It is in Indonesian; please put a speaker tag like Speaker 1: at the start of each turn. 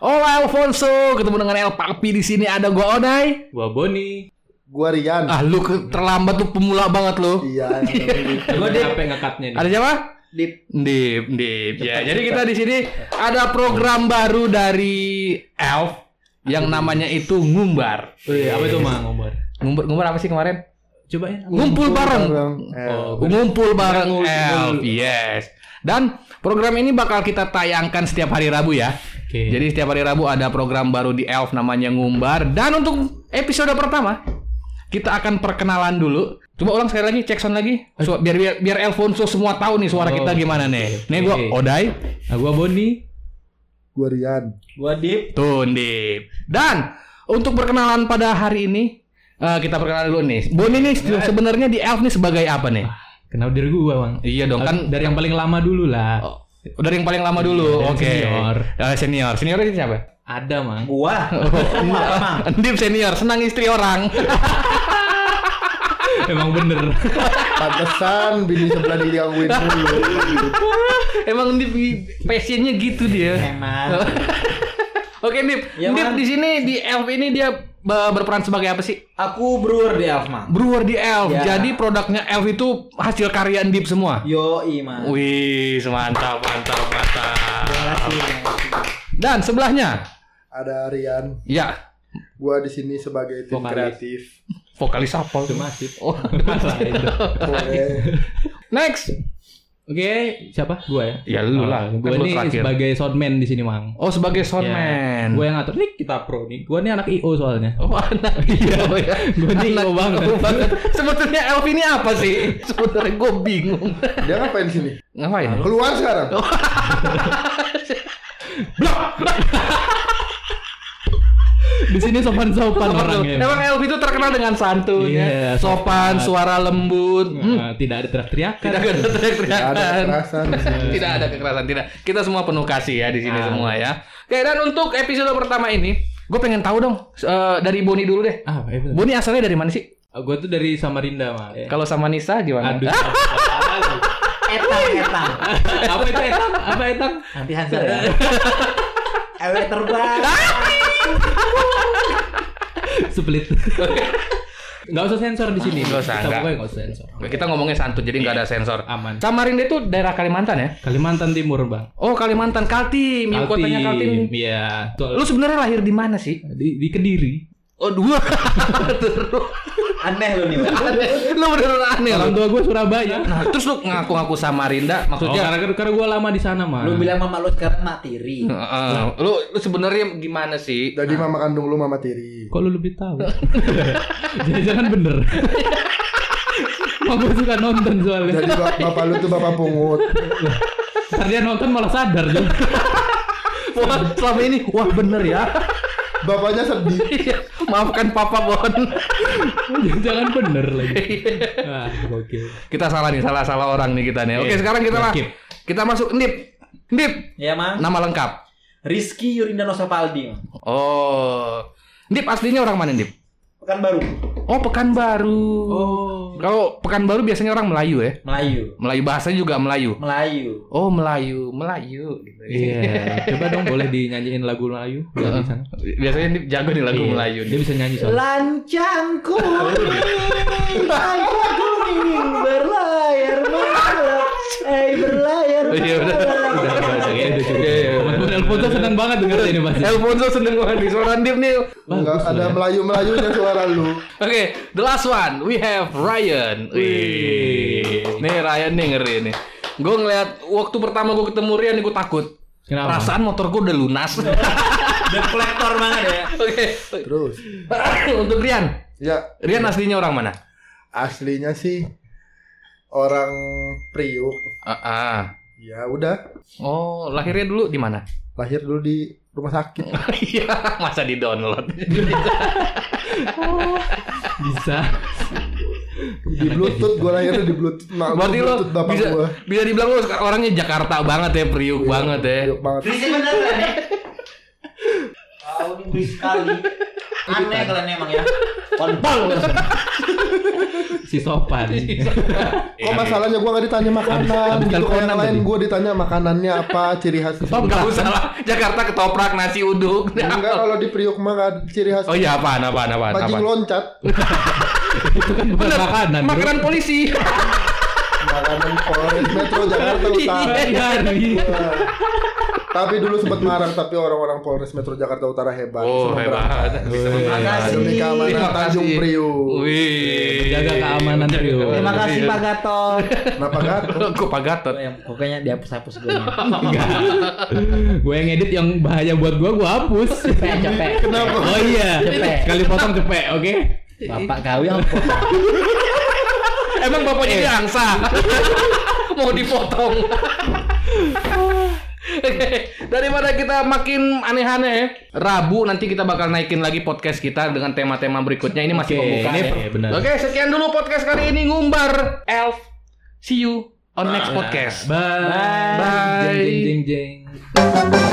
Speaker 1: Hola Oh, Alfonso, ketemu dengan El Papi di sini ada gua Odai.
Speaker 2: Gua Boni.
Speaker 3: Gua
Speaker 2: Oh.
Speaker 3: Rian.
Speaker 1: Ah lu ke- terlambat lu pemula banget lu.
Speaker 3: Iya.
Speaker 2: Gua
Speaker 4: deh.
Speaker 2: capek ngekatnya nih.
Speaker 1: Ada siapa?
Speaker 4: Dip.
Speaker 1: Dip, Dip. Ya, jadi kita di sini ada program baru dari Elf yang namanya itu ngumbar.
Speaker 2: Wih, apa itu mah ngomor?
Speaker 1: Ngumbar, ngumbar apa sih kemarin?
Speaker 2: Coba ya.
Speaker 1: Ngumpul bareng.
Speaker 3: Eh,
Speaker 2: Oh, gua-
Speaker 1: Ngumpul bareng
Speaker 2: Ngumpul.
Speaker 1: Elf. Yes. Dan program ini bakal kita tayangkan setiap hari Rabu ya.
Speaker 2: Oke.
Speaker 1: Jadi setiap hari Rabu ada program baru di Elf namanya Ngumbar dan untuk episode pertama kita akan perkenalan dulu. Coba ulang sekali lagi, cek sound lagi. Su- biar biar biar Elfonso semua tahu nih suara
Speaker 2: Oh,
Speaker 1: kita gimana nih.
Speaker 2: oke,
Speaker 1: Nih gua
Speaker 2: oke.
Speaker 1: Odai,
Speaker 2: Nah, gua Boni.
Speaker 3: gua Rian.
Speaker 4: Gua Dip.
Speaker 1: Tundip. Dan untuk perkenalan pada hari ini eh, kita perkenalan dulu nih. Boni nih
Speaker 2: Iya.
Speaker 1: se- sebenarnya di Elf nih sebagai apa nih?
Speaker 2: Kenapa diri gua, Bang?
Speaker 1: Iya dong
Speaker 2: Kan
Speaker 1: kan
Speaker 2: dari yang paling lama dulu lah.
Speaker 1: Oh, dari yang paling lama dulu.
Speaker 2: Iya, dari
Speaker 1: Oke.
Speaker 2: senior.
Speaker 1: Eh, senior. Seniornya siapa?
Speaker 2: Ada, Mang.
Speaker 4: Gua. Emang, emang.
Speaker 1: Dip senior, senang istri orang.
Speaker 2: Emang bener.
Speaker 3: Pantesan bini sebelah digangguin dulu.
Speaker 1: Emang Dip passionnya gitu dia.
Speaker 4: Emang.
Speaker 1: Oke Dip,
Speaker 4: Ya,
Speaker 1: Dip
Speaker 4: Man.
Speaker 1: di sini di Elf ini dia be- berperan sebagai apa sih?
Speaker 4: Aku brewer di Elf, Mang.
Speaker 1: Brewer di Elf.
Speaker 4: Ya.
Speaker 1: Jadi produknya Elf itu hasil karyaan Dip semua.
Speaker 4: Yo, Mang.
Speaker 1: Wih, mantap, mantap, mantap.
Speaker 4: Terima kasih, terima kasih.
Speaker 1: Dan sebelahnya,
Speaker 3: Ada Rian.
Speaker 1: ya
Speaker 3: Gua di sini sebagai tim
Speaker 2: Vokalis.
Speaker 3: kreatif.
Speaker 1: vokalis apa?
Speaker 2: Itu masif.
Speaker 1: Oh,
Speaker 2: Masalah itu.
Speaker 3: Oke.
Speaker 1: next.
Speaker 2: Oke, siapa? Gua ya.
Speaker 1: Ya, lu
Speaker 2: Oh,
Speaker 1: lah.
Speaker 2: Gua
Speaker 1: Kan lu
Speaker 2: ini
Speaker 1: terakhir.
Speaker 2: sebagai soundman di sini, Mang.
Speaker 1: Oh, sebagai
Speaker 2: Ya.
Speaker 1: soundman.
Speaker 2: Gua yang ngatur. Nih, kita pro nih. Gua nih anak IO soalnya.
Speaker 1: Oh, anak iya.
Speaker 2: Gua nih
Speaker 1: Anak
Speaker 2: IO banget.
Speaker 1: gua Sebetulnya Elf ini apa sih? Sebetulnya gue bingung.
Speaker 3: Dia ngapain di sini?
Speaker 1: Ngapain?
Speaker 3: Keluar sekarang.
Speaker 2: Oh. Di sini
Speaker 1: Sopan
Speaker 2: sopan-sopan orangnya.
Speaker 1: tuh. Emang Elf itu terkenal dengan santun ya.
Speaker 2: Iya,
Speaker 1: sopan,
Speaker 2: sopan.
Speaker 1: suara lembut. Hmm.
Speaker 2: Nah, Tidak ada teriak-teriakan.
Speaker 1: Tidak ada Iya.
Speaker 3: Nggak ada
Speaker 1: teriak-teriakan.
Speaker 3: kekerasan di sini.
Speaker 1: Tidak ada kekerasan, tidak. Kita semua penuh kasih ya di sini
Speaker 2: Ah.
Speaker 1: semua ya. Oke, dan untuk episode pertama ini, gue pengen tahu dong eh, dari Boni dulu deh.
Speaker 2: Ah, eh, bener.
Speaker 1: Boni asalnya dari mana sih?
Speaker 2: Gue Oh, tuh dari Samarinda, Mang. Eh.
Speaker 1: Kalau sama Nisa gimana?
Speaker 2: Aduh.
Speaker 1: Ah,
Speaker 4: Etang, etang.
Speaker 2: apa itu etang? Apa etang?
Speaker 4: Nanti Hansel ya. Ewe terbang.
Speaker 2: Split. Gak usah sensor di sini.
Speaker 1: Nggak usah,
Speaker 2: Kita
Speaker 1: nggak.
Speaker 2: pokoknya nggak usah sensor.
Speaker 1: kita ngomongnya santun jadi nggak ada sensor.
Speaker 2: Aman.
Speaker 1: Samarinda itu daerah Kalimantan ya?
Speaker 2: Kalimantan Timur, Bang.
Speaker 1: Oh Kalimantan Kaltim, ibu kotanya Kaltim.
Speaker 2: Iya. Tuh,
Speaker 1: Lu sebenarnya lahir di mana sih?
Speaker 2: di, di Kediri.
Speaker 1: Oh dua. Terus.
Speaker 4: Aneh lu nih, Mang.
Speaker 1: lu bener-bener aneh lu.
Speaker 2: Orang tua gue Surabaya.
Speaker 1: Nah, terus lu ngaku-ngaku Samarinda,
Speaker 2: Oh,
Speaker 1: maksudnya
Speaker 2: karena, karena gue lama di sana, Mang.
Speaker 4: Lu bilang mama lu sekarang mak tiri.
Speaker 1: Heeh. Nah, lu, lu sebenarnya gimana sih?
Speaker 3: Jadi mama kandung lu mama tiri.
Speaker 2: Kok lu lebih tahu? Jangan-jangan bener. Emang gue suka nonton soalnya.
Speaker 3: Jadi bap- bapak lu tuh bapak pungut.
Speaker 2: Ntar dia nonton malah sadar. Jon.
Speaker 1: Wah, selama ini wah bener ya.
Speaker 3: Bapaknya sedih.
Speaker 1: Iya, Maafkan papa Bon.
Speaker 2: Jangan-jangan bener lagi. Ah, gokil.
Speaker 1: kita salah nih, salah salah orang nih kita nih. Oke,
Speaker 2: Iya,
Speaker 1: sekarang kita lah.
Speaker 2: skip.
Speaker 1: Kita masuk Nip. Nip,
Speaker 4: Ya, Mang.
Speaker 1: nama lengkap.
Speaker 4: Rizky Yurinda Nosapaldi, Mang.
Speaker 1: Oh. Nip aslinya orang mana, Nip?
Speaker 4: Pekanbaru.
Speaker 1: Oh, Pekanbaru.
Speaker 2: Oh.
Speaker 1: Kalau Pekanbaru biasanya orang Melayu ya.
Speaker 4: Melayu.
Speaker 1: Melayu bahasanya juga Melayu.
Speaker 4: Melayu.
Speaker 1: Oh, Melayu, Melayu gitu.
Speaker 2: Iya, coba dong boleh dinyanyiin lagu Melayu biar di sana.
Speaker 1: Biasanya Nip jago nih lagu
Speaker 2: Iya,
Speaker 1: Melayu.
Speaker 2: Dia bisa nyanyi soalnya.
Speaker 4: Lancang kuning, lancang kuning berlayar malam, eh berlayar
Speaker 1: Oh, iya, udah.
Speaker 4: malam.
Speaker 2: Udah, udah, udah, ya, udah cukup.
Speaker 1: Iya, iya.
Speaker 2: Teman-teman Elfonso senang banget denger ini pasti.
Speaker 1: Elfonso seneng banget nih suara Nip nih.
Speaker 3: Enggak
Speaker 2: Bagus
Speaker 3: ada
Speaker 2: loh ya.
Speaker 3: melayu-melayunya suara lu.
Speaker 1: Oke, the last one we have Ryan. Wih. Nih Ryan nih ngeri nih. Gue ngeliat waktu pertama gue ketemu Ryan nih gue takut.
Speaker 2: Kenapa?
Speaker 1: Perasaan motor gue udah lunas. Oke.
Speaker 4: Dan kolektor banget ya.
Speaker 3: Terus.
Speaker 1: Untuk Rian.
Speaker 3: Ya
Speaker 1: Rian aslinya orang mana?
Speaker 3: aslinya sih orang Priuk.
Speaker 1: Ah.
Speaker 3: Ya udah.
Speaker 1: Oh, lahirnya dulu di mana?
Speaker 3: Lahir dulu di rumah sakit.
Speaker 1: Iya, masa di download.
Speaker 2: Bisa.
Speaker 3: di bluetooth gue lahirnya di bluetooth mak gua
Speaker 1: Berarti lo
Speaker 3: bluetooth bapak Iya.
Speaker 1: bisa
Speaker 3: gue
Speaker 1: bisa dibilang lo sekarang orangnya Jakarta banget ya, Priuk banget ya.
Speaker 3: banget
Speaker 4: Berisi beneran ya. Tahu
Speaker 3: Iya,
Speaker 4: nih berisi sekali. Aneh kalian emang ya. Kontol.
Speaker 2: si sopan.
Speaker 1: Iya.
Speaker 3: Kok masalahnya gue gak ditanya makanan
Speaker 2: abis
Speaker 3: gitu kayak
Speaker 2: teleponan
Speaker 3: yang lain
Speaker 2: tadi.
Speaker 3: gue ditanya makanannya apa ciri khas
Speaker 1: Oh, nggak usah lah. Jakarta ketoprak nasi uduk.
Speaker 3: Iya, enggak kalau di Priok mah nggak ada ciri khas
Speaker 1: Oh iya apaan apaan apaan
Speaker 3: Pancing
Speaker 1: apaan.
Speaker 3: loncat
Speaker 2: Itu kan bukan
Speaker 1: Bener,
Speaker 2: makanan. Bro.
Speaker 1: makanan polisi.
Speaker 3: makanan Polres Metro Jakarta
Speaker 1: Iya.
Speaker 3: Utara
Speaker 2: Iya, Hari.
Speaker 3: Wah. tapi dulu sempat marah tapi orang-orang Polres Metro Jakarta Utara hebat
Speaker 1: Oh,
Speaker 3: Semua berangkat.
Speaker 1: hebat. Bisa memberantas.
Speaker 3: demi
Speaker 1: Terima
Speaker 3: keamanan
Speaker 1: kasih.
Speaker 3: Tanjung Priok
Speaker 1: Wih.
Speaker 2: Jaga Iya, keamanan
Speaker 1: Iya,
Speaker 2: Rio.
Speaker 4: Terima kasih Pak Gatot.
Speaker 3: kenapa gak
Speaker 1: Kok Pak Gatot?
Speaker 4: Yang pokoknya dihapus-hapus gue.
Speaker 2: Gue yang edit yang bahaya buat gue, gue hapus.
Speaker 4: Capek, capek.
Speaker 3: kenapa
Speaker 2: Oh iya.
Speaker 4: Cepet.
Speaker 2: Kali potong cepet, oke?
Speaker 4: Bapak kau yang
Speaker 1: Emang bapaknya dia angsa. Mau dipotong. Oke, Daripada kita makin aneh-aneh ya. Rabu nanti kita bakal naikin lagi podcast kita dengan tema-tema berikutnya. Ini masih
Speaker 2: Oke,
Speaker 1: pembukaan
Speaker 2: ini
Speaker 1: ya.
Speaker 2: per- benar.
Speaker 1: Oke, sekian dulu podcast kali ini ngumbar Elf. See you on next podcast.
Speaker 2: Bye.
Speaker 1: Bye.
Speaker 2: Jeng jeng jeng. jeng.